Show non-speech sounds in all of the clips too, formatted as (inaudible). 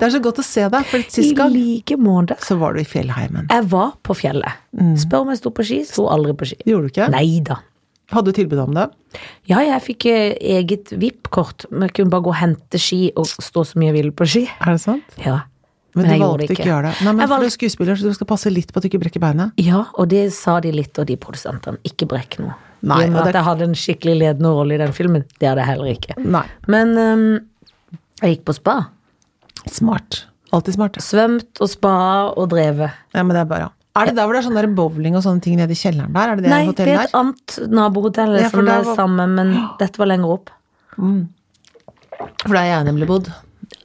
Det er så godt å se deg, for sist I gang like måte. så var du i fjellheimen. Jeg var på fjellet. Mm. Spør om jeg sto på ski. Sto aldri på ski. Gjorde du ikke? Nei da. Hadde du tilbud om det? Ja, jeg fikk eh, eget VIP-kort, men jeg kunne bare gå og hente ski og stå så mye jeg ville på ski. Er det sant? Ja. Men, jeg du gjorde valgte ikke å gjøre det. Nei, men Jeg for valg- du er skuespiller, så du skal passe litt på at du ikke brekker beinet. Ja, og det sa de litt, og de produsentene. Ikke brekk noe. Nei, I og og med det- at jeg hadde en skikkelig ledende rolle i den filmen. Det hadde jeg heller ikke. Nei. Men ehm, jeg gikk på spa. Smart. Alltid smart. Svømt og spa og drevet. Ja, men det er bare Er det der hvor det er sånn der bowling og sånne ting nede i kjelleren der? Er det det Nei, det er hotellet et der? annet nabohotell Ja, for som der er var- samme, (gasps) men dette var lenger opp. For der har jeg nemlig bodd.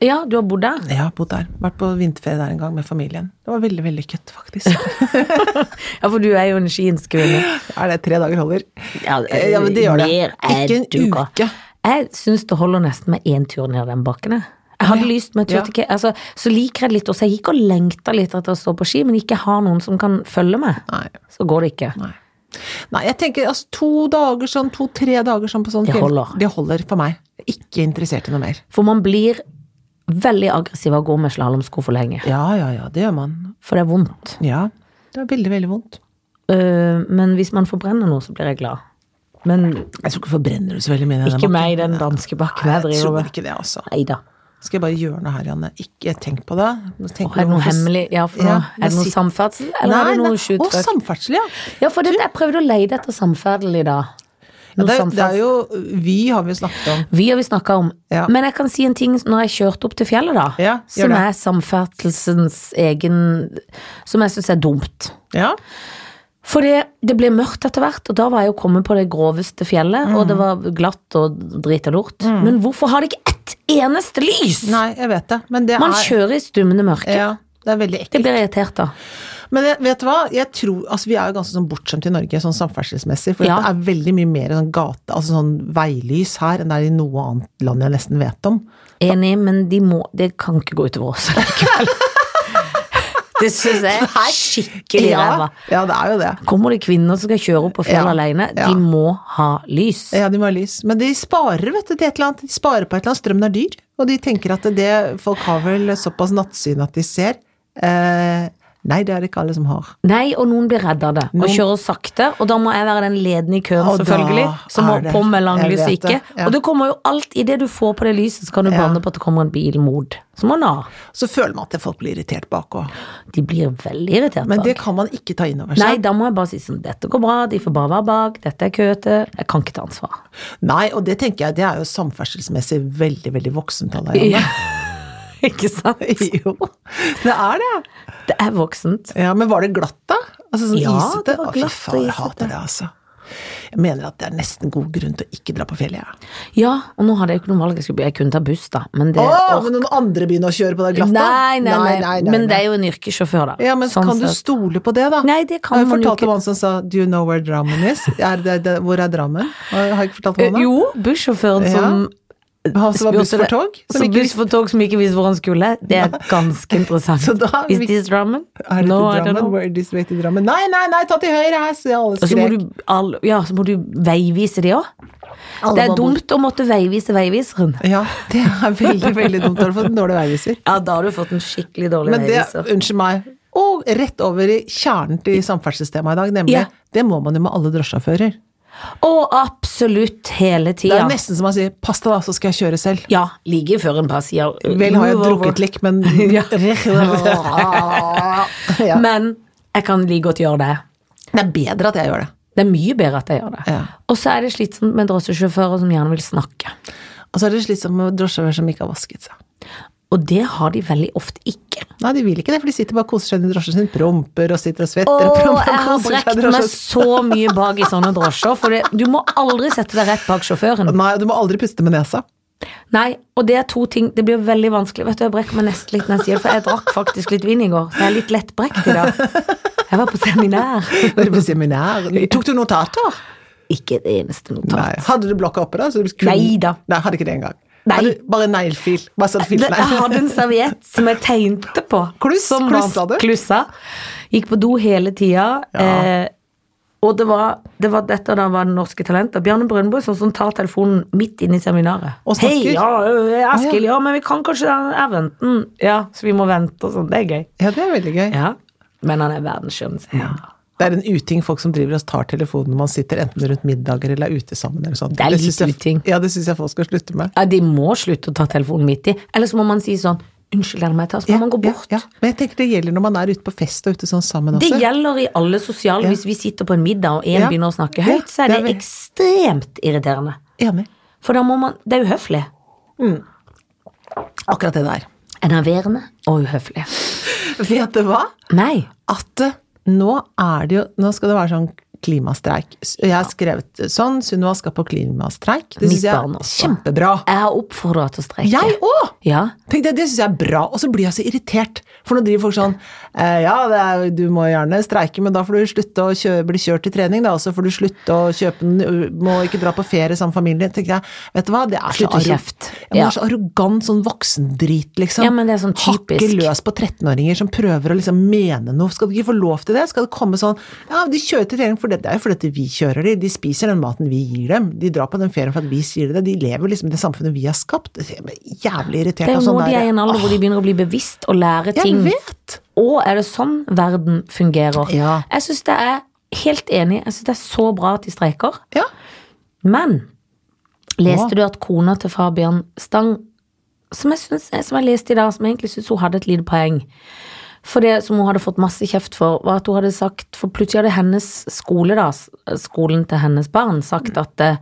Ja, du har bodd der. Jeg har bodd der. Vært på vinterferie der en gang med familien. Det var veldig vellykket, (laughs) faktisk. Ja, for du er jo en skiensk kvinne. er det tre dager holder? Eh, Ja, Ja, men det gjør det. mer er Ikke en du gal. uke. Jeg syns det holder nesten med én tur ned den bakken. Jeg, jeg Ja. hadde lyst, men jeg turte Ja. ikke. Altså, så liker jeg det litt også. Jeg gikk og lengta litt etter å stå på ski, men ikke har noen som kan følge meg. Nei. Så går det ikke. Nei. Nei, jeg tenker altså to dager sånn, to-tre dager sånn på sånn Det fjell- holder. Det holder for meg. Ikke interessert i noe mer. For man blir veldig aggressiv av å gå med slalåmsko for lenge. Ja, ja, ja, det gjør man. For det er vondt. Ja. Det er veldig, veldig vondt. Øh, men hvis man forbrenner noe, så blir jeg glad. Men Jeg tror ikke forbrenner du så veldig mye i denne ikke bakken. meg i den danske bakken jeg Jeg driver tror med. ikke det, altså. Nei da. Skal jeg bare gjøre noe her, Janne? Ikke tenk på det. Nå tenker Er det du noe hvorfor- hemmelig? Ja, for Ja, noe. Er jeg det noe sitter- samferdsel, eller er det Nei, noe nei. skjutfuck? Å, samferdsel, ja. Ja, for det, jeg prøvde å leide etter samferdsel i ja dag. Noe det, er- det er samferdsel. jo Vy har vi jo snakket om. Vi har vi snakka om. Ja. Men jeg kan si en ting når jeg kjørte opp til fjellet, da. Ja, gjør som det. er samferdselsens egen Som jeg syns er dumt. Ja. For det, det ble mørkt etter hvert, og da var jeg jo kommet på det groveste fjellet, og Mm. det var glatt og drita lort. Men hvorfor har det ikke ett eneste lys?! Nei, jeg vet det. Men det Man er kjører i stummende mørke. Ja, det er veldig Det ekkelt. blir jeg irritert av. Men jeg, vet du hva? Jeg tror, altså Vi er jo ganske sånn bortskjemt i Norge sånn samferdselsmessig. For Ja. det er veldig mye mer sånn gate, altså sånn veilys her enn det er i noe annet land jeg nesten vet om. Enig, men de må, det kan ikke gå utover oss (laughs) likevel. det syns jeg er skikkelig Ja, ræva. ja, det er jo det. Kommer det kvinner som skal kjøre opp på fjellet Ja, alene, ja. de må ha lys. Ja, de må ha lys. Men de sparer vet du, til et eller annet. De sparer på et eller annet. Strømmen er dyr. Og de tenker at det folk har vel såpass nattsyn at de ser. Eh, nei, det er det ikke alle som har. Nei, og noen blir redd av det og kjører sakte, og da må jeg være den ledende i køen, Og da selvfølgelig, som må er det- på med jeg langlys og vet ikke. det, ja. Og det kommer jo alt i det du får på det lyset, så kan du Ja. banne på at det kommer en bil mot. Så må man ha. Så føler man at folk blir irritert bak òg. De blir veldig irritert. Men bak. det kan man ikke ta inn over Nei, seg. da må jeg bare si sånn, dette går bra, de får bare være bak, dette er køete, jeg kan ikke ta ansvar. Nei, og det tenker jeg det er jo samferdselsmessig veldig, veldig voksent av deg, Janne. (laughs) ikke sant? (laughs) Jo, det er det. Det er voksent. Ja, Men var det glatt, da? Altså sånn Ja, isete? det var Å, fy glatt og faen, jeg isete. hater det, altså. Jeg mener at det er nesten god grunn til å ikke dra på fjellet, jeg. Ja. Ja, og nå hadde jeg jo ikke noe valg, jeg, skulle, jeg kunne ta buss da, men det Å, orker men noen andre begynner å kjøre på det glatte? Nei, nei, nei, Men det er jo en yrkessjåfør, da. Ja, men Sånn kan du sett. stole på det, da? Nei, det kan Har jeg man jo fortalt ikke. om han som sa 'Do you know where Drammen is'? Er det, det, hvor er Drammen? Har har jeg ikke fortalt Eh, om det? Jo, bussjåføren Ja. som Han som var buss spurte for det- tog? Som Som ikke buss for tog som ikke visste hvor han skulle. Det er ganske (laughs) interessant. Så da er Is vi- this Drammen? Er det No, til I don't Drammen? know. Where this way to Drammen? Nei, nei, nei, ta til høyre her! Så alle Og så må skrek. du, all, ja, så må du veivise de òg. Alle Det er var bort. dumt å måtte veivise veiviseren. Ja, det er veldig, veldig dumt. Har du fått dårlige veiviser? Ja, da har du fått en skikkelig dårlig Men det, veiviser. unnskyld meg, og rett over i kjernen til samferdselstemaet i dag, nemlig Ja. det må man jo med alle drosjesjåfører. Å, absolutt hele Det er tida. nesten som man sier 'pass deg, da, så skal jeg kjøre selv'. Ja, like før en par sier Vel har jeg move over. drukket litt, men (laughs) Ja. (laughs) Ja. Men jeg kan like godt gjøre det. Det er bedre at jeg gjør det. Det er mye bedre at jeg gjør det. Ja. Og så er det slitsomt med drosjesjåfører som gjerne vil snakke. Og så er det slitsomt med drosjesjåfører som ikke har vasket seg. Og det har de veldig ofte ikke. Nei, de vil ikke det, for de sitter bare og koser seg i drosjen sin, promper og sitter og svetter. Å, promper og jeg har koser seg i brekt drosjen meg sin. så mye bak i sånne drosjer, for det, du må aldri sette deg rett bak sjåføren. Nei, og du må aldri puste med nesa. Nei, og det er to ting, det blir veldig vanskelig. Vet du, jeg brekker meg nesten litt når jeg sier det, for jeg drakk faktisk litt vin i går, så jeg er litt lettbrekt i dag. Jeg var på seminær. Når du på (laughs) seminar. Tok du notater? Ikke et eneste Nei. notat. Hadde du blokka oppe da? Så du kunne... Neida. Nei, hadde ikke det engang. Nei. Hadde du Bare neglefil. Bare sånn Det- filtnegl. Jeg hadde en serviett som jeg tegnte på. Kluss- som var- klussa du? Klussa. Gikk på do hele tida. Ja. Eh, Og det var, det var dette da var det norske talentet. Bjarne Brøndbo sånn som tar telefonen midt inn i seminaret. Og snakker. Hei, ja, ø, Å, Eskil, ja, men vi kan kanskje den eventen. Ja, så vi må vente og sånn. Det er gøy. (laughs) Ja, det er veldig gøy. Ja. Men han er verdens skjønneste. Det er en uting folk som driver og tar telefonen når man sitter enten rundt middager eller er ute sammen. Eller sånt. Det er litt synes jeg, uting. Ja, det syns jeg folk skal slutte med. Ja, de må slutte å ta telefonen midt i. Eller så må man si sånn Unnskyld, er det meg jeg tar? Så må man gå bort. Ja, ja. Men jeg tenker det gjelder når man er ute på fest og ute sånn sammen Det også. gjelder i alle sosiale. Hvis vi sitter på en middag, og én Ja. begynner å snakke Ja, høyt, så er det er det, vi. ekstremt irriterende. Enig. For da må man Det er uhøflig. Akkurat det der. Enerverende og uhøflig. Vet du hva? Nei. at eh, nå er det jo Nå skal det være sånn klimastreik. S- Jeg har skrevet eh, sånn. Sunniva skal på klimastreik. Det Mitt syns jeg barn er også. kjempebra. Jeg har oppfordra til å streike. Jeg òg! Ja. Tenkte jeg, Det syns jeg er bra. Og så blir jeg så irritert. For nå driver folk sånn eh, Ja, det er, du må gjerne streike, men da får du slutte å kjø bli kjørt til trening, da. Og så får du slutte å kjøpe den, du må ikke dra på ferie sammen med familien. Tenkte jeg, vet du hva, det er så, Slutt å arro- kjefte. Ja, men det Ja. er så arrogant sånn voksendrit, liksom. Ja, men det er sånn typisk. Hakke løs på 13-åringer som prøver å liksom mene noe. Skal du ikke få lov til det? Skal det komme sånn Ja, de kjører til trening, for det, det er jo fordi at vi kjører de. De spiser den maten vi gir dem. De drar på den ferien for at vi sier det. De lever liksom i det samfunnet vi har skapt. Det er Jævlig irritert. Det av er jo sånn nå de der- er i en alder hvor de begynner å bli bevisst og lære Jeg ting. vet! Og er det sånn verden fungerer? Ja. Jeg syns det er helt enig. Jeg syns det er så bra at de streiker. Ja. Men leste Hva? du at kona til Fabian Stang som jeg, synes, eh, som jeg leste i dag, som jeg egentlig syns hun hadde et lite poeng For det som hun hadde fått masse kjeft for, var at hun hadde sagt For plutselig hadde hennes skole, da, s- skolen til hennes barn, sagt at eh,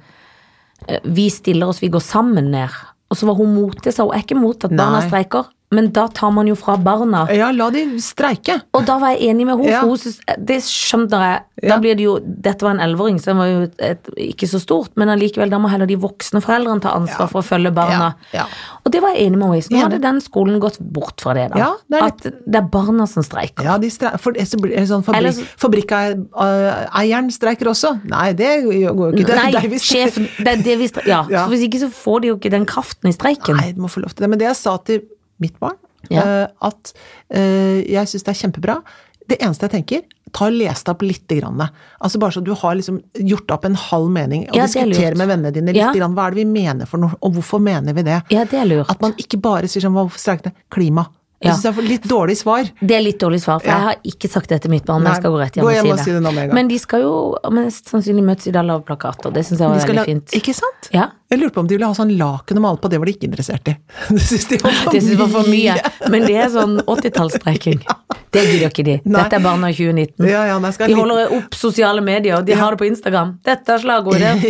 vi stiller oss, vi går sammen ned. Og så var hun mot det, sa hun. Jeg er ikke mot at barna Nei. streiker, men da tar man jo fra barna. ja, la de streike. Og da var jeg enig med henne, Ja. for hun synes, det skjønner jeg. Ja. Da blir det jo, Dette var en elleveåring, så den var jo et, ikke så stort, men allikevel, da må heller de voksne foreldrene ta ansvar for å følge barna. Ja, ja. Og det var jeg enig med henne i. Så nå Enig. hadde den skolen gått bort fra det, da. Ja, det er At det er barna som streiker. Ja, de streik, for det så blir det sånn Eller fabrikk, så- Fabrikkeieren streiker også. Nei, det går jo ikke. Det er Nei, deg vi streiker. sjefen det er det vi stre- ja. (laughs) Ja. for Hvis ikke så får de jo ikke den kraften i streiken. Nei, du må få lov til det. Men det jeg sa til mitt barn, Ja. eh, at eh, jeg syns det er kjempebra. Det eneste jeg tenker, ta og les det opp lite grann. Altså bare så du har liksom gjort opp en halv mening, og Ja, det er diskutere lurt. med vennene dine lite Ja. grann. Hva er det vi mener for noe, og hvorfor mener vi det? Ja, det er lurt. At man ikke bare sier sånn, hvorfor streiket det? Klima. Jeg Ja. syns det er for litt dårlig svar. Det er litt dårlig svar, for Ja. jeg har ikke sagt det til mitt barn. Men Nei, jeg skal gå rett hjem gå og hjem si og det. si det nå med en gang. Men de skal jo mest sannsynlig møtes i dag og plakater. Det syns De jeg var skal veldig la- fint. Ikke sant? Ja. Jeg lurte på om de ville ha sånn laken og male på, det var de ikke interessert i. (laughs) Det syns de var for Det synes jeg var for mye. mye. Men det er sånn 80-tallsstreiking. (laughs) Det gidder ikke de. Nei. Dette er barna i 2019. Ja, ja, nei, skal de jeg- holder opp sosiale medier, og de har det på Instagram. Dette er slagordet.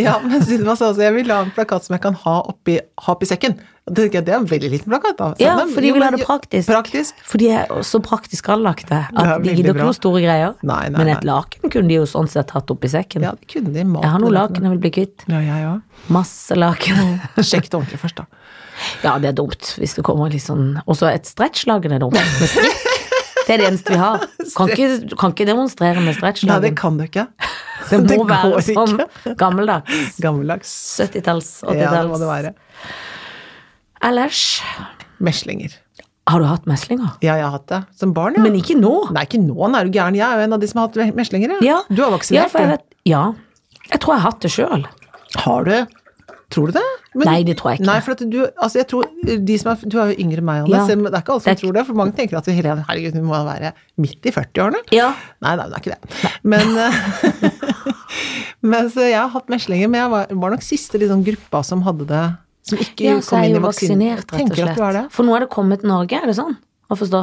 (laughs) Ja, men Sunniva sa også jeg vil ha en plakat som jeg kan ha oppi, ha oppi sekken. Og Det, tenker jeg, det er en veldig liten plakat, da. Så, Ja, men- for de jo, vil ha men- det praktisk. Praktisk. For de er så praktisk anlagte Det er at de veldig gidder bra. ikke noen store greier. Nei, nei, Men nei. et laken kunne de jo sånn sett hatt oppi sekken. Ja, det kunne de malt. Jeg har med noen lakenet. laken jeg vil bli kvitt. Ja, jeg òg. Masse laken. Sjekk det ordentlig først, da. (laughs) Ja, det er dumt hvis det kommer litt sånn Også et stretchlagen er dumt. Med strikk. Det er det eneste (laughs) vi har. Kan ikke, kan ikke demonstrere med Nei, det stretchlagen. kan du ikke. (laughs) Det (laughs) må være går sånn ikke. gammeldags. Gammeldags. 70-talls, Ja, det må 80-talls. det være. Ellers Meslinger. har du hatt meslinger? Ja, jeg har hatt det. Som barn, ja. Men ikke nå. Nei, ikke nå, nei, er du gæren. Jeg er jo en av de som har hatt meslinger, ja. Ja. Du har ja, vaksinert, for jeg du. vet, ja. Jeg tror jeg har hatt det sjøl. Har du? Tror du det? Men- Nei, det tror jeg ikke. Nei, for at du, altså jeg tror, de som er, du er jo yngre enn meg, Anne, Ja. så det er ikke alle som Det er tror det. For mange tenker at Helene, herregud, hun må være midt i 40-årene. Ja. Nei, nei, hun er ikke det. Men, (laughs) eh, men så jeg har hatt meslinger, men jeg var, var nok siste liksom, gruppa som hadde det. Som ikke ja, så kom er inn i jeg jo vaksinen. vaksinert, rett og Tenker at slett. du er det? For nå er det kommet til Norge, er det sånn? Å forstå.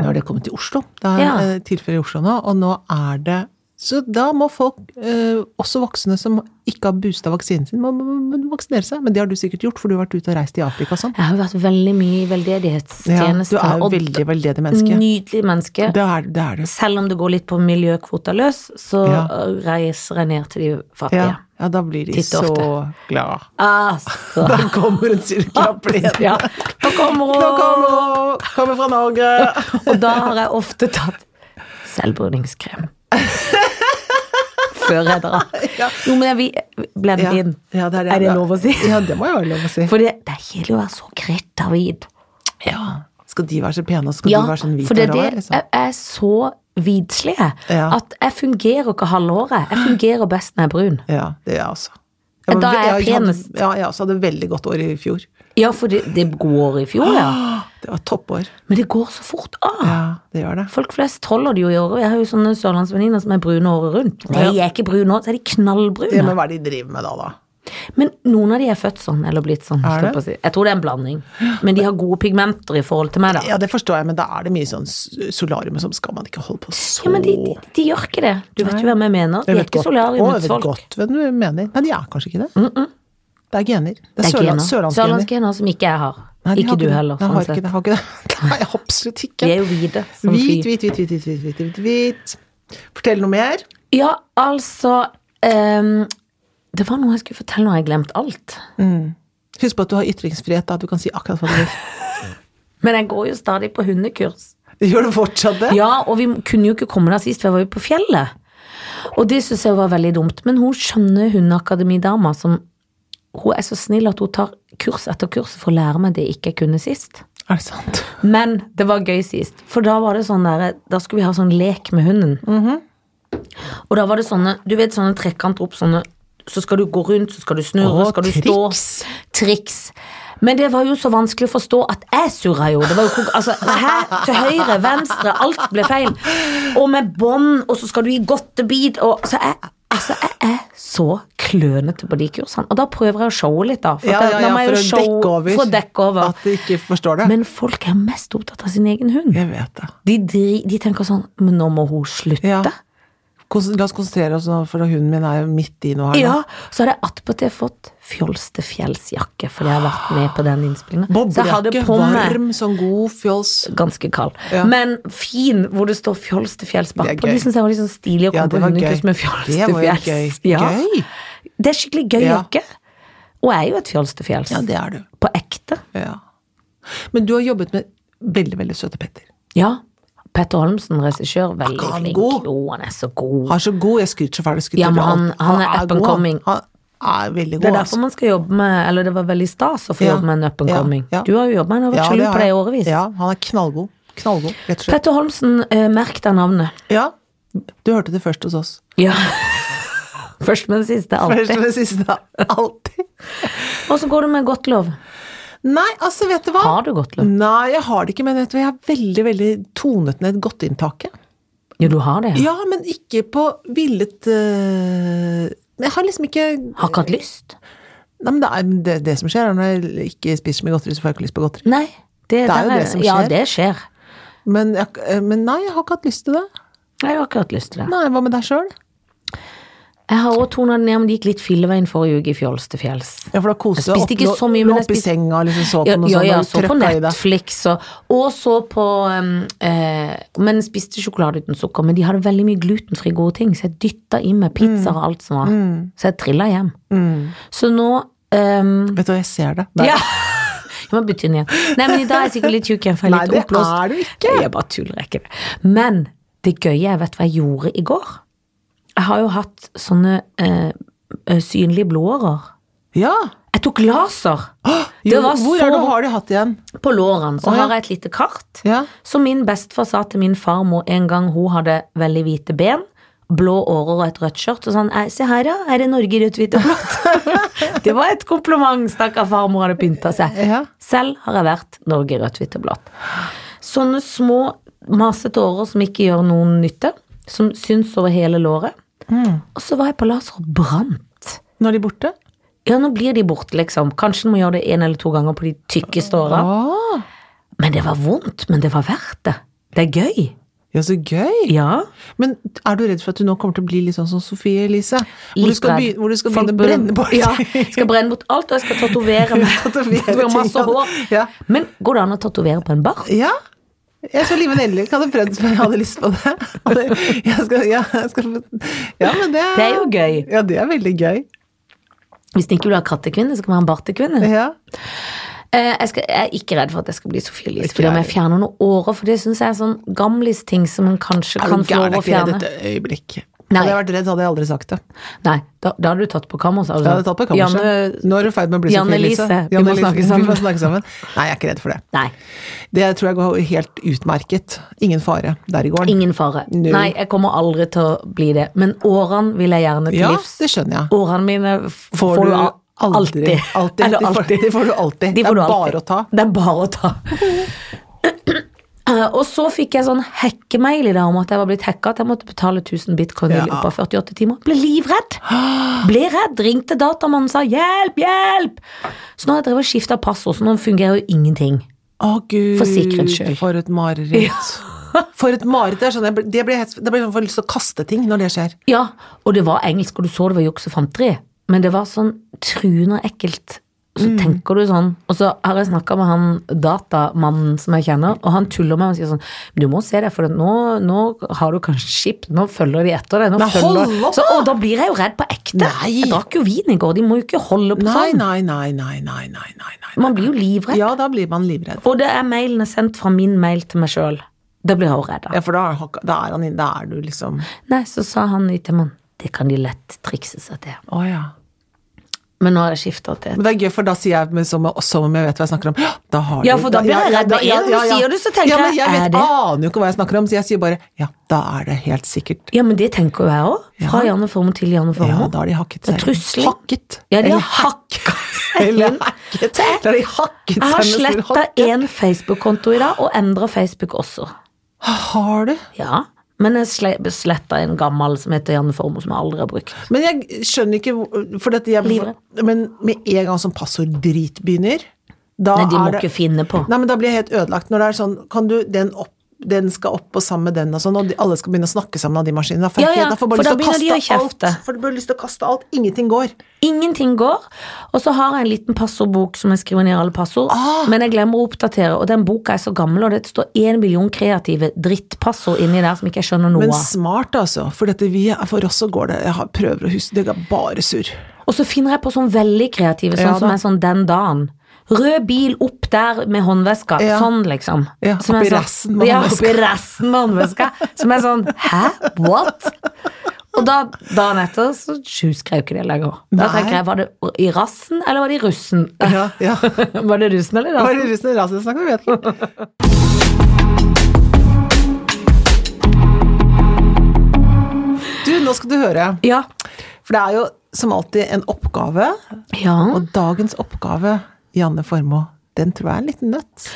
Nå har det kommet til Oslo. Det er Ja. eh, tilfeller i Oslo nå, og nå er det Så da må folk, eh, også voksne som ikke har boosta vaksinen sin, må, må, må vaksinere seg. Men det har du sikkert gjort, for du har vært ute og reist i Afrika og sånn. Jeg har jo vært veldig mye i Ja, du veldedighetstjeneste. er jo og veldig veldedig menneske. Nydelig menneske. Det er, det er du. Selv om det går litt på miljøkvota løs, så Ja. reiser jeg ned til de Ja. fattige. ja, da blir de Titt så og glad. Altså. Da kommer hun sirkelapplene. (laughs) Ja. Da kommer Nå hun! kommer hun! Kommer fra Norge! Og da har jeg ofte tatt selvbruningskrem. Før jeg drar. Jo, men jeg vil blende Ja, inn. ja, det er, det. Er det lov å si? Ja, det må jo være lov å si. For det, det er kjedelig å være så kretavid. Ja. Skal de være så pene, og skal Ja, du være sånn hvit for det og er rar? det Liksom? jeg er så vidslige. Ja. At jeg fungerer ikke halve året. Jeg fungerer best når jeg er brun. Ja, det gjør jeg også. Jeg Da er jeg hadde- penest. Ja, jeg også hadde veldig godt år i fjor. Ja, for det, det gode året i fjor, ja. Det var toppår. Men det går så fort av. Ja, det gjør det. Folk flest holder det jo i året. Jeg har jo sånne sørlandsvenninner som er brune året rundt. Nei, Ja. jeg er ikke brun nå, så er de Ja, knallbrune. men hva er det de driver med da, da? Men noen av de er født sånn, eller blitt sånn. Er det? holdt på å si. Jeg tror det er en blanding. Men de har gode pigmenter i forhold til meg, da. Ja, det forstår jeg, men da er det mye sånn s- solarium og sånn, skal man ikke holde på så Ja, men de, de, de gjør ikke det. Du vet jo hvem jeg mener. De Jeg er vet ikke godt- Å, solariumets Jeg vet folk. godt hva du mener. Nei, de er kanskje ikke det. Det er gener. Det er, Det er sørland, gener. sørlandsgener. Sørlandsgener som ikke jeg har. Nei, de har ikke du det. heller, Jeg sånn har ikke sett. det. (laughs) Jeg har ikke det. Nei, absolutt ikke. Vi er jo hvite. sånn som Hvit, fy. hvit, hvit, hvit, hvit, hvit, hvit, hvit, hvit. Fortell noe mer. Ja, altså ehm, Det var noe jeg skulle fortelle når jeg glemte alt. Husk på at du har ytringsfrihet, da. Du kan si akkurat hva du vil. Men jeg går jo stadig på hundekurs. Gjør du fortsatt det? Ja, og vi kunne jo ikke komme der sist, for jeg var jo på fjellet. Og det syns jeg var veldig dumt. Men hun skjønner hundeakademidama som Hun er så snill at hun tar kurs etter kurs for å lære meg det ikke jeg kunne sist. Er det sant? Men det var gøy sist. For da var det sånn der, da skulle vi ha sånn lek med hunden. Mhm. Og da var det sånne du vet sånne trekanter opp, sånne, så skal du gå rundt, så skal du snurre, Å, skal du stå. triks. Triks. Men det var jo så vanskelig å forstå at jeg surra jo. Det var jo kok- altså, hæ? Til høyre, venstre, alt ble feil. Og med bånd, og så skal du i godtebit, og så jeg Altså, jeg er så klønete på de kursene. Og da prøver jeg å showe litt, da. For, Ja, at ja, da må ja, jeg for jo å show- dekke over. For å dekke over. At de ikke forstår det. Men folk er mest opptatt av sin egen hund. Jeg vet det. De, dri, de tenker sånn Men nå må hun slutte. Ja. Ja. Kons- La oss konsentrere oss nå, for hunden min er jo midt i noe her. nå. Så hadde jeg attpåtil fått fjols til fjells-jakke, fordi jeg har vært med på den innspillinga. Så jeg hadde Boblejakke, på meg varm, sånn god fjols. Ganske kald. Ja. Men fin, hvor det står fjols til fjells Det er bakpå. gøy. De syns jeg var litt sånn stilig Ja, å komme det på var gøy. hundekurs med fjols Det til var jo fjells. gøy. Gøy. Det er skikkelig gøy Ja. jakke. Og jeg er jo et fjols til fjells. Ja, det er du. På ekte. Ja. Men du har jobbet med veldig, veldig søte Petter. Ja. Petter Holmsen, regissør, veldig han flink. god? Jo, han er så god. Han er så god, jeg skryter så fælt. Ja, men han- han er up and coming. Han, han er veldig god. Det er altså. derfor man skal jobbe med Eller det var veldig stas å få Ja, jobbe med en up and ja, coming. ja. Du har jo jobbet med en, jeg har Ja, vært sjalu har på deg i jeg. årevis. Ja, han er knallgod. Knallgod, rett og slett. Petter Holmsen, eh, merk deg navnet. Ja, du hørte det først hos oss. Ja. (laughs) Først med det siste, Først alltid. og siste. Alltid. Og så går du med Godtlov. Nei, altså, vet du hva? Har du Godtlov? Nei, jeg har det ikke, men vet du, hva, jeg har veldig, veldig tonet ned godteinntaket. Jo, du har det. Ja, men ikke på villet eh, Jeg har liksom ikke Har ikke hatt lyst. Nei, men det, er, det, det som skjer, er når jeg ikke spiser så mye godteri, så får jeg ikke lyst på godteri. Nei. Det, er der jo det som Ja, skjer. det skjer. Men, jeg, eh, men nei, jeg har ikke hatt lyst til det. Jeg har ikke hatt lyst til det. Nei, Hva med deg sjøl? Jeg har også tonet det ned, men det gikk litt filleveien forrige uke i Fjols til fjells. Ja, for da koste Jeg spiste opp- ikke lå- så mye, men lå jeg oppi spiste- senga og liksom så på Ja, noe ja, sånt. ja, og så på trøkka i deg. Netflix og, og så på um, eh, Men spiste sjokolade uten sukker. Men de hadde veldig mye glutenfrie gode ting, så jeg dytta i meg Mm. pizzaer og alt som var. Så jeg trilla hjem. Så nå um, Vet du hva, jeg ser det. Mm. Nei. Ja! Jeg må bytte inn igjen. Nei, men i dag er jeg sikkert litt tjukk igjen, for jeg er Nei, litt det oppblåst. er du ikke. Jeg bare tuller, jeg er ikke det. Men det gøye er, vet du hva jeg gjorde i går? Jeg har jo hatt sånne eh, eh, synlige blodårer. Ja. Jeg tok laser! Jo, var hvor så- er det du har de hatt igjen? På lårene så Å, ja. har jeg et lite kart. Ja. Som min bestefar sa til min farmor en gang hun hadde veldig hvite ben, blå årer og et rødt skjørt. Og sånn, «Ei, se her ja, er det Norge i rødt, hvitt og blått? (laughs) det var et kompliment, stakkar farmor hadde pynta seg. Ja. Selv har jeg vært Norge i rødt, hvitt og blått. Sånne små masete årer som ikke gjør noen nytte, som syns over hele låret. Og så var jeg på laser og brant. Nå er de borte? Ja, nå blir de borte, liksom. Kanskje du må gjøre det én eller to ganger på de tykkeste åra. Ah, Men det var vondt, men det var verdt det. Det er gøy. ja, så gøy. Ja. Men er du redd for at du nå kommer til å bli litt sånn som Sofie Elise? Hvor du Litt skal, redd. begynne, hvor du skal Folk begynne å bør- brenne bort? (laughs) Ja, skal brenne bort alt, og jeg skal tatovere meg. (laughs) Tatovere Tatovere masse ting, ja. hår. Ja. Men går det an å tatovere på en bart? (laughs) Ja. Jeg så Liven Elvik hadde prøvd, men jeg hadde lyst på det. (laughs) Hadde- Jeg skal, ja, jeg skal, ja, men det, Det er jo gøy. Ja, det er veldig gøy. Hvis du ikke vil ha kattekvinne, så kan du ha en bartekvinne. Ja. Eh, Jeg, skal, jeg er ikke redd for at jeg skal bli Sophie Elise, Ikke fordi om jeg. jeg fjerner noen årer, for det syns jeg er sånn gamlis ting som en kanskje Er kan du få gæren? Er lov å ikke redd fjerne. et øyeblikk. Nei. Hadde jeg vært redd, så hadde jeg aldri sagt det. Nei, da, da hadde du tatt på kammerset. altså. Jeg hadde tatt på kammerset. Janne, Nå er du i ferd med å bli Janne Sofie Elise. Lise, vi må Janne Lise, snakke Vi må sammen. snakke sammen. Nei, jeg er ikke redd for det. nei, Det tror jeg går helt utmerket. Ingen fare der i gården. ingen fare. Null. Nei, jeg kommer aldri til å bli det. Men årene vil jeg gjerne til Ja, livs. det skjønner jeg. Årene mine f- får, du al- alltid. aldri- alltid. (laughs) Eller De får- alltid. de får du alltid. De får Det er du bare alltid. å ta. Det er bare å ta. (laughs) Eh, Og så fikk jeg sånn hackemail i dag om at jeg var blitt hacka, at jeg måtte betale 1000 bitcoin i Ja. løpet av 48 timer. Ble (gasps) livredd! Ble redd. Ringte datamannen og sa 'hjelp, hjelp'. Så nå har jeg drevet og skifta passord, så nå fungerer jo ingenting. Å gud, For sikkerhets skyld. for et mareritt. For et mareritt. Det er sånn, jeg blir- det blir helt- det blir sånn for lyst til å kaste ting når det skjer. Ja, og det var engelsk, og du så det var juks og fanteri. Men det var sånn truende ekkelt. Så Mm. tenker du sånn, og så har jeg snakka med han datamannen som jeg kjenner, og han tuller med meg og sier sånn Du må se det, for nå, nå har du kanskje skip, nå følger de etter deg. Nå Nei, følger... hold opp, så, og da blir jeg jo redd på ekte. Nei. Jeg drakk jo vin i går, de må jo ikke holde på Nei, sånn. nei, nei, nei, nei, nei, nei, nei. Man blir jo livredd. Ja, da blir man livredd. Og det er mailen er sendt fra min mail til meg sjøl. Det blir jeg også redd av. Ja, for da er, han- da er han inne, da er du liksom Nei, så sa han til meg Det kan de lett trikse seg til. Å ja. Men nå har jeg skifta til et Men det er gøy, for da sier jeg med, som, som om jeg vet hva jeg snakker om. «Hå, Da har Ja, du- for da blir jeg redd. Med en gang du sier det, så tenker ja, men jeg, Jeg er vet, det? aner jo ikke hva jeg snakker om, så jeg sier bare ja, da er det helt sikkert. Ja, men det tenker jo jeg òg. Fra Ja. Janne Formoe til Janne Ja, Formoe. da har de hakket Det seg er inn. trusling. Hakket. Ja, de Eller har hakka seg Eller inn. hacket. Da har de hakket Jeg har seg med stor sletta hakk. én Facebook-konto i dag, og endra Facebook også. Har du? Ja, Men jeg sletta en gammel som heter Janne Formoe, som jeg aldri har brukt. Men jeg skjønner ikke hvor- for dette jeg, Livredd. Men med en gang som passorddrit begynner, da Nei, de må er det ikke finne på. Nei, men da blir jeg helt ødelagt. Når det er sånn Kan du den opp den skal opp og sammen med den og sånn, og de, alle skal begynne å snakke sammen av de maskinene. Da får jeg Ja, ja, helt- da får jeg bare for da lyst til å begynner de kaste å alt. kjefte. For du bare lyst til å kaste alt. Ingenting går. Ingenting går. Og så har jeg en liten passordbok som jeg skriver ned alle passord, Ah! men jeg glemmer å oppdatere, og den boka er så gammel, og det står én million kreative drittpassord inni der som ikke jeg skjønner noe Men av. smart, altså. For dette vi er- For oss så går det Jeg har, prøver å huske Det er bare surr. Og så finner jeg på sånn veldig kreative, Ja, sånn som da. er sånn den dagen. Rød bil opp der med håndveska, Ja. sånn liksom. Ja, Som er opp i sånn- rassen med ja, håndveska. opp i rassen med håndveska. Som er sånn, hæ, what? Og da, dagen etter så husker jeg jo ikke det lenger. Da Nei. tenker jeg, var det i rassen, eller var det i russen? Ja, ja. (laughs) var det russen eller Bare rassen? russen og rasen snakker, vet du. Du, nå skal du høre. Ja. For det er jo som alltid en oppgave. Ja. Og dagens oppgave, Janne Formoe, den tror jeg er en liten nøtt.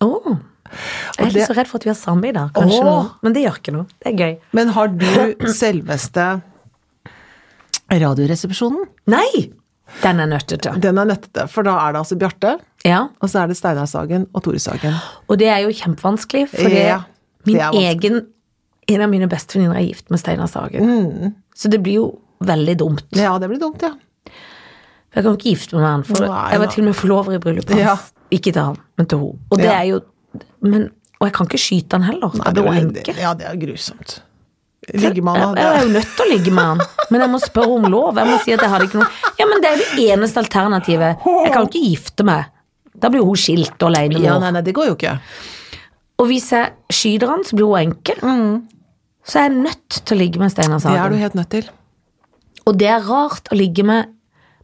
Åh. Jeg er det- litt så redd for at vi har samme i dag, kanskje Åh. nå. Men det gjør ikke noe, det er gøy. Men har (clears throat) du selveste Radioresepsjonen? Nei, den er nødt til. Den er nøttete, for da er det altså Bjarte, Ja. og så er det Steinar Sagen og Tore (gasps) Sagen. Og det er jo kjempevanskelig, for Ja, det min er vanskelig. egen En av mine bestevenninner er gift med Steinar Sagen. Så det blir jo veldig dumt. Mm. Ja, det blir dumt, ja. For Jeg kan jo ikke gifte meg med han, for Nei, jeg var nei. til og med forlover i bryllupet hans. Ja. Ikke til han, men til henne. Og det Ja. er jo men, Og jeg kan ikke skyte han heller. da Nei, blir hun det- enke. ja, det er grusomt. Jeg, Liggemann jeg er jo nødt til å ligge med han, men jeg må spørre om lov. Jeg må si at jeg hadde ikke noe Ja, men det er jo det eneste alternativet. (laughs) Jeg kan jo ikke gifte meg. Da blir jo hun skilt og alenemor. Ja, nei, nei, det går jo ikke. Og hvis jeg skyter han, så blir hun enke. Mm. Så jeg er nødt til å ligge med Steinar Det er du Sagen. helt (laughs) nødt til. Og det er rart å ligge med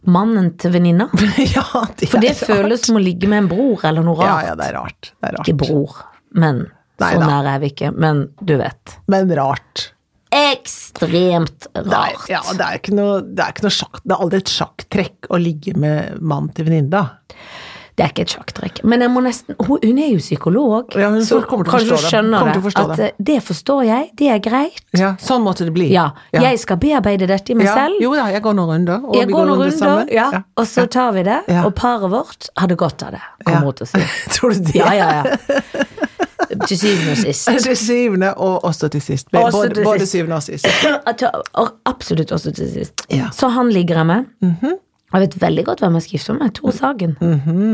mannen til venninna. ja, det For det er føles som å ligge med en bror eller noe Ja, rart. ja, det er rart. Det er Ikke rart. bror, men Nei sånn da. er jeg ikke. Men du vet. Men rart. Ekstremt Det er, rart. ja, det er ikke noe, det er ikke noe sjakk, det er aldri et sjakktrekk å ligge med mannen til venninna. Det er ikke et sjakktrekk. Men jeg må nesten Hun, hun er jo psykolog, Ja, hun så kommer til å kanskje forstå hun det. skjønner Kommer til det. å forstå At det. eh, det forstår jeg, det er greit. Ja, sånn måtte det bli. Ja, jeg skal bearbeide dette i meg Ja. selv. Jo da, jeg går noen runder. og Jeg vi går noen runder, ja, Ja. (laughs) og så tar vi det. Ja. Og paret vårt hadde godt av det, Ja. kommer hun til å si. Tror du det? (laughs) Ja, ja, ja. Til syvende og sist. Til syvende og også til sist. Også både, til både sist. syvende og sist. Og til- og Absolutt også til sist. Ja. Mhm. Så han ligger jeg med. Jeg vet veldig godt hvem jeg skal gifte meg med. Tor Sagen.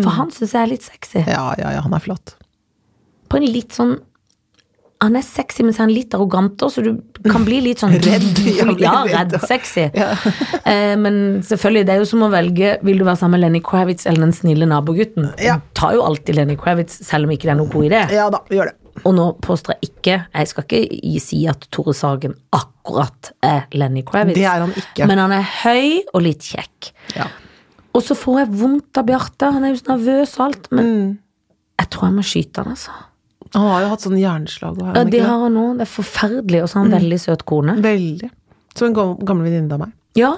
For han syns jeg er litt sexy. Ja, ja, ja, han er flott. På en litt sånn han er sexy, men så er han litt arrogant òg, så du kan bli (laughs) litt sånn ja, blir (laughs) Ja, redd, redd ja. sexy. Ja. (laughs) Eh, men selvfølgelig, det er jo som å velge Vil du være sammen med Lenny Kravitz eller den snille nabogutten? Ja. Du tar jo alltid Lenny Kravitz, selv om ikke det er noen god idé. Ja da, vi gjør det. Og nå påstår jeg ikke Jeg skal ikke gi- si at Tore Sagen akkurat akkurat er Lenny Kravitz. Det er han ikke. Men han er høy og litt kjekk. Ja. Og så får jeg vondt av Bjarte. Han er jo så nervøs og alt. Men Mm. jeg tror jeg må skyte han, altså. Han har jo hatt sånn hjerneslag. og har Ja, han det ikke har han nå. Det er forferdelig. Og så har han veldig søt kone. det? Veldig. Som en gam- gammel venninne av meg. Ja,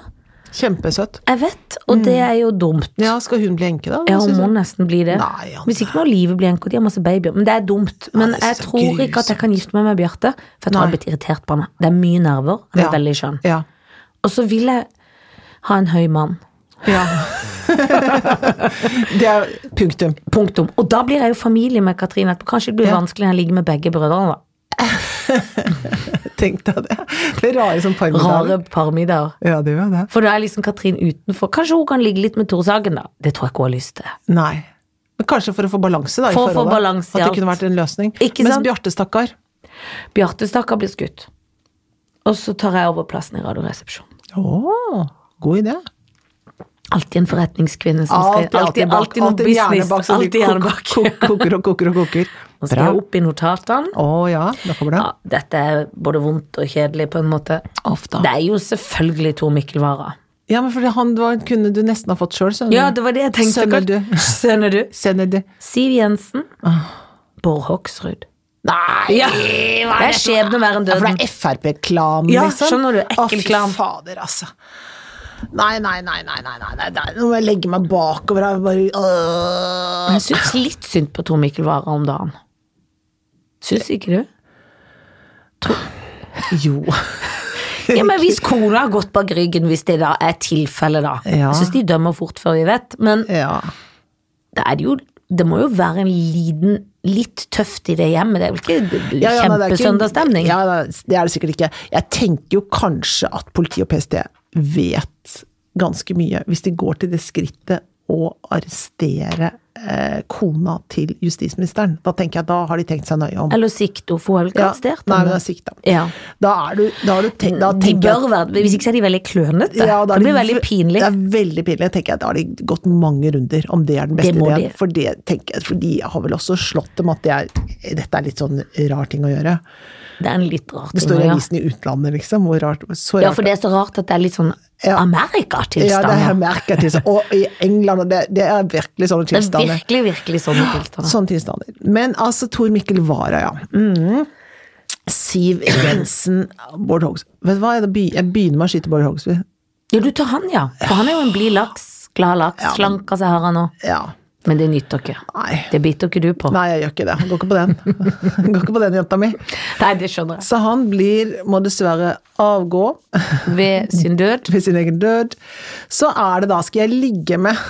Kjempesøt. jeg vet. Og det er jo dumt. Ja, skal hun bli enke, da? Mm. Ja, Synes hun må jeg. nesten bli det. Nei, han- Hvis ikke må livet bli enke, og de har masse babyer. Men det er dumt. Men det synes jeg jeg er tror ikke at jeg kan gifte meg med Bjarte, for jeg tror Nei. jeg har blitt irritert på han. Det er mye nerver. Han er Ja. veldig skjønn. Ja. Og så vil jeg ha en høy mann. ja. (laughs) det er punktum. Punktum. Og da blir jeg jo familie med Katrine etterpå. Kanskje det blir Ja. vanskelig når jeg ligger med begge brødrene, da. Tenk deg det. Det er rare som parmesan. Rare parmiddager. Ja, det gjør det. For da er liksom Katrin utenfor. Kanskje hun kan ligge litt med Tore Sagen, da. Det tror jeg ikke hun har lyst til. Nei. Men kanskje for å få balanse, da. i For å få forholdet. balanse i At det alt. kunne vært en løsning. Ikke Mens sant? Bjarte, stakkar. Bjarte Stakkar blir skutt. Og så tar jeg over plassen i Radioresepsjonen. Åh, god idé. Alltid en forretningskvinne som skal Alltid, alltid, bak- alltid noe alltid en hjerne business. bak som Alltid kok- gjerne bak. kok- Koker og koker og koker. (laughs) Nå skal Bra. jeg opp i notatene. Å ja, da kommer det. Ja, dette er både vondt og kjedelig på en måte. Ofte. Det er jo selvfølgelig Tor Mikkel Wara. Ja, men fordi han var, kunne du nesten ha fått sjøl, sønner Ja, det var det jeg tenkte. Skjønner du. (laughs) kanskje. Skjønner du? Sender du. Siv Jensen. Bård Hoksrud. Nei! Ja, det er skjebne verre enn For døden. det er Frp-klan, Ja, liksom? skjønner du, ekkel Å, fy klan. fader, altså. Nei, nei, nei, nei, nei, nei, nei, nei. nå må jeg legge meg bakover her. Bare, øh. Jeg syns litt synd på Tor Mikkel Wara om dagen. Syns ikke du? Jo. (laughs) Ja, men Hvis kona har gått bak ryggen, hvis det da er tilfellet, da. Ja. Jeg syns de dømmer fort før vi vet, men Ja. det, er jo, det må jo være en liten litt tøft i det hjemmet. Det er jo ikke Ja, ja, nei, det er ikke- kjempesøndagsstemning. Ja, nei, det er det sikkert ikke. Jeg tenker jo kanskje at politi og PST vet ganske mye, hvis de går til det skrittet å arrestere eh, kona til justisministeren. Da tenker jeg, da har de tenkt seg nøye om. Eller sikte og få Ja, alkastert. nei, men det er sikta. Ja. Mm, Da er du, da har du tenkt, da De tenker jeg bør være Hvis ikke så er de veldig klønete. Ja, da er det blir de veldig ve- pinlig. Det er veldig pinlig. Jeg tenker at Da har de gått mange runder, om det er den beste Det må ideen. de. For, det, tenker jeg, for de har vel også slått dem at det er, dette er litt sånn rar ting å gjøre. Det er en litt rar Det ting. står i å gjøre. avisen i utlandet, liksom. Hvor rart, så rart. Ja, for det er så rart at det er litt sånn Ja. Ja, det Amerikatilstander. har jeg merket til. Og i England, og det, det er virkelig sånne det er tilstander. virkelig, virkelig sånn sånne tilstander. Sånne tilstander. Men altså, Tor Mikkel Wara, ja. Mm. Siv Jensen, Bård Hogsrud Vet du hva, jeg begy- jeg begynner med å skyte Bård Hogsrud. Ja, du tar han, ja. For han er jo en blid laks. Glad laks. Slanker seg har han nå. Ja. Men det nytter ikke. Nei. Det biter ikke du på. Nei, Nei, jeg gjør ikke det. Han går ikke på den. (laughs) Han går ikke på den jenta mi. det skjønner jeg. Så han blir, må dessverre avgå Ved sin død. ved sin egen død. Så er det da, skal jeg ligge med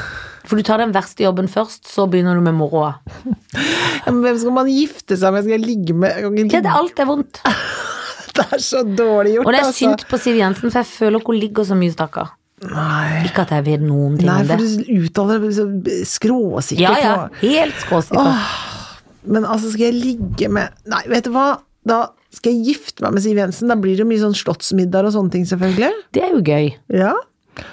For du tar den verste jobben først, så begynner du med moroa. Ja, men Hvem skal man gifte seg med? Skal jeg ligge med jeg kan ikke Ja, ligge- det, alt er vondt. (laughs) Det er så dårlig gjort, altså. Og det er synd på Siv Jensen, for jeg føler ikke hun ligger så mye, stakkar. Nei. Ikke at jeg vet noen ting Nei, om det. for du uttaler det så skråsikkert. Ja, ja. nå. Helt skråsikker. Men altså, skal jeg ligge med Nei, vet du hva? Da skal jeg gifte meg med Siv Jensen. Da blir det mye sånn slottsmiddag og sånne ting, selvfølgelig. Det er jo gøy. Ja.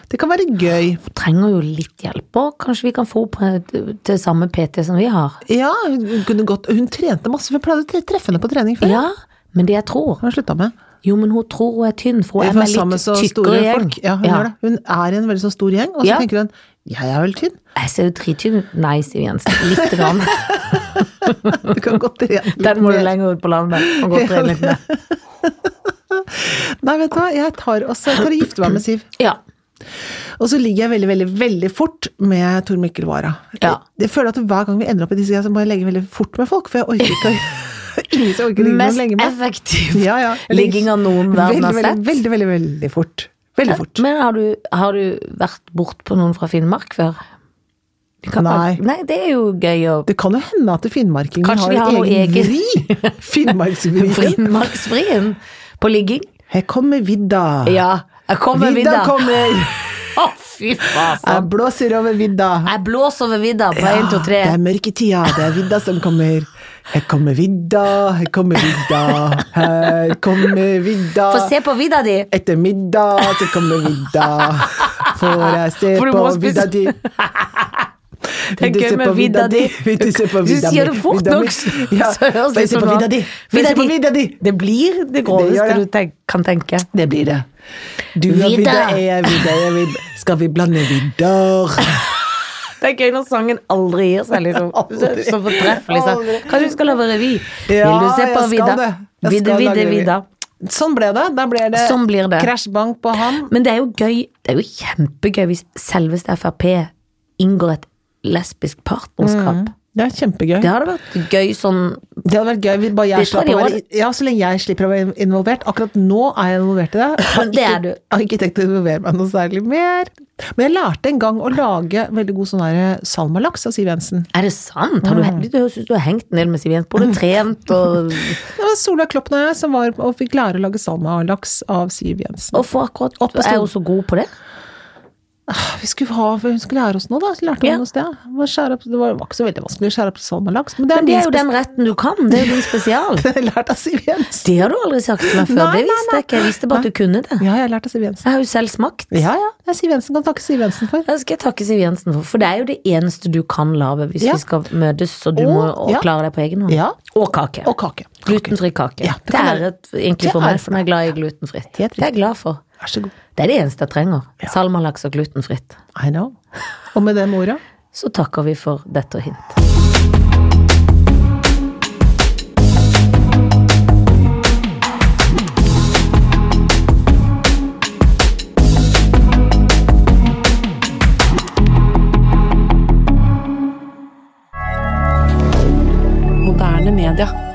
Det kan være gøy. Hun trenger jo litt hjelp, og kanskje vi kan få henne på- til samme PT som vi har. Ja, hun kunne godt Hun trente masse, for jeg pleide å tre- treffe henne på trening før. Ja, men det jeg Hva tror har hun slutta med? Jo, men hun tror hun er tynn, for hun Jeg er får med sammen litt så tykkere store gjeng. folk. Ja, hun, gjør det. hun er i en veldig sånn stor gjeng, og så Ja. tenker hun jeg er vel tynn. Jeg ser jo drittynn ut. Nei, Siv Jensen. Litt. Grann. Du (laughs) kan godt trene litt Den må du mer. lenger ut på landet og gå og trene litt med. Nei, vet du hva, jeg tar også Jeg tar og gifter meg med Siv. (laughs) Ja. Og så ligger jeg veldig, veldig veldig fort med Tor Mikkel Wara. Ja. Jeg, jeg føler at hver gang vi ender opp i disse greiene, så må jeg legge veldig fort med folk, for jeg orker ikke å- (laughs) Ingen som orker å ligge med Mest lenge med. effektiv Ja, ja. Jeg ligger (laughs) ligging av noen verden har veldig, veldig, sett. Veldig, veldig, veldig fort. Veldig fort. Men har du, har du vært bort på noen fra Finnmark før? Du kan- Nei. Nei, det er jo gøy å Det kan jo hende at finnmarkinger Kanskje har, de har noe en egen eget. (laughs) vri. Finnmarksvrien. Finnmarksfrien på ligging. Her kommer vidda. Ja. Jeg kommer ved Vidda vidda. (laughs) Å, kommer. fy faen. Jeg blåser over vidda. Jeg blåser over vidda på én, to, det er tre. mørketida, det er vidda som kommer. Her kommer vidda, her kommer vidda, her kommer vidda. Få se på vidda di. Etter middag så kommer middag. Får jeg se For på du må spise- middag di. Det er gøy med vidda di. Vil du se på Hvis vidda mi? du sier det fort Vidda mi. nok, så Ja, så vil høres det du se sånn på ut. vidda di? Vil du se på vidda di? Det blir det Det groveste gjør du det. tenk, kan tenke. Det blir det. Du har Vidda. vidda, er jeg vidda, jeg er vidda. Skal vi blande vidder? Det er gøy når sangen (laughs) aldri gir seg, liksom. Så, Aldri. så fortreffelig. Så. Aldri. Kanskje du skal lage revy? Vil du se jeg på skal vidda? det. Jeg Vidda, skal vidda, lage revy. vidda. Sånn ble det. Da ble det, Sånn blir det. krasjbank på han. Men det er jo gøy, det er jo kjempegøy hvis selveste Frp inngår et lesbisk partnerskap. Det er kjempegøy. Det hadde vært gøy sånn Det hadde vært gøy hvis bare jeg Det tar slapp å i være Ja, så lenge jeg slipper å være involvert. Akkurat nå er jeg involvert i det. (laughs) Jeg har Det er ikke- du. Jeg har ikke tenkt å involvere meg noe særlig mer. Men jeg lærte en gang å lage veldig god sånn der salmalaks av Siv Jensen. Er det sant? Har du, du høres ut som du har hengt en del med Siv Jensen. Både trent og Det var Solveig Kloppen og jeg som var og fikk lære å lage salmalaks av Siv Jensen. Og for akkurat Opp og stå. Er hun så god på det? Ah, Vi skulle ha, hun skulle lære oss noe, da. Så lærte hun Ja. oss det. Det var, skjære opp, det var var ikke så veldig vanskelig å skjære opp salmalaks, men det er, Men det min er jo den retten du kan. Det er jo din spesial. spes- (laughs) lært av Siv Jensen. Det har du aldri sagt til meg før. Nei, Det nei, visste jeg ikke. Jeg visste bare at du kunne det. Ja, jeg har lært av Siv Jensen. Jeg har jo selv smakt. Ja, ja. Det er Siv Jensen. Kan takke Siv Jensen for. Det skal jeg takke Siv Jensen for, for det er jo det eneste du kan lage hvis Ja. vi skal møtes, så du Og- må å- ja. klare deg på egen hånd. Ja. Og kake. Og kake. Glutenfri kake. Ja, det det, kan er jeg- et, egentlig Det for er- meg, for jeg er glad i glutenfritt. Det Helt er jeg glad for. Vær så god. Det er det eneste jeg trenger. Salmalaks og glutenfritt. I know. Og med det med ordet Så takker vi for dette og hint. Moderne media.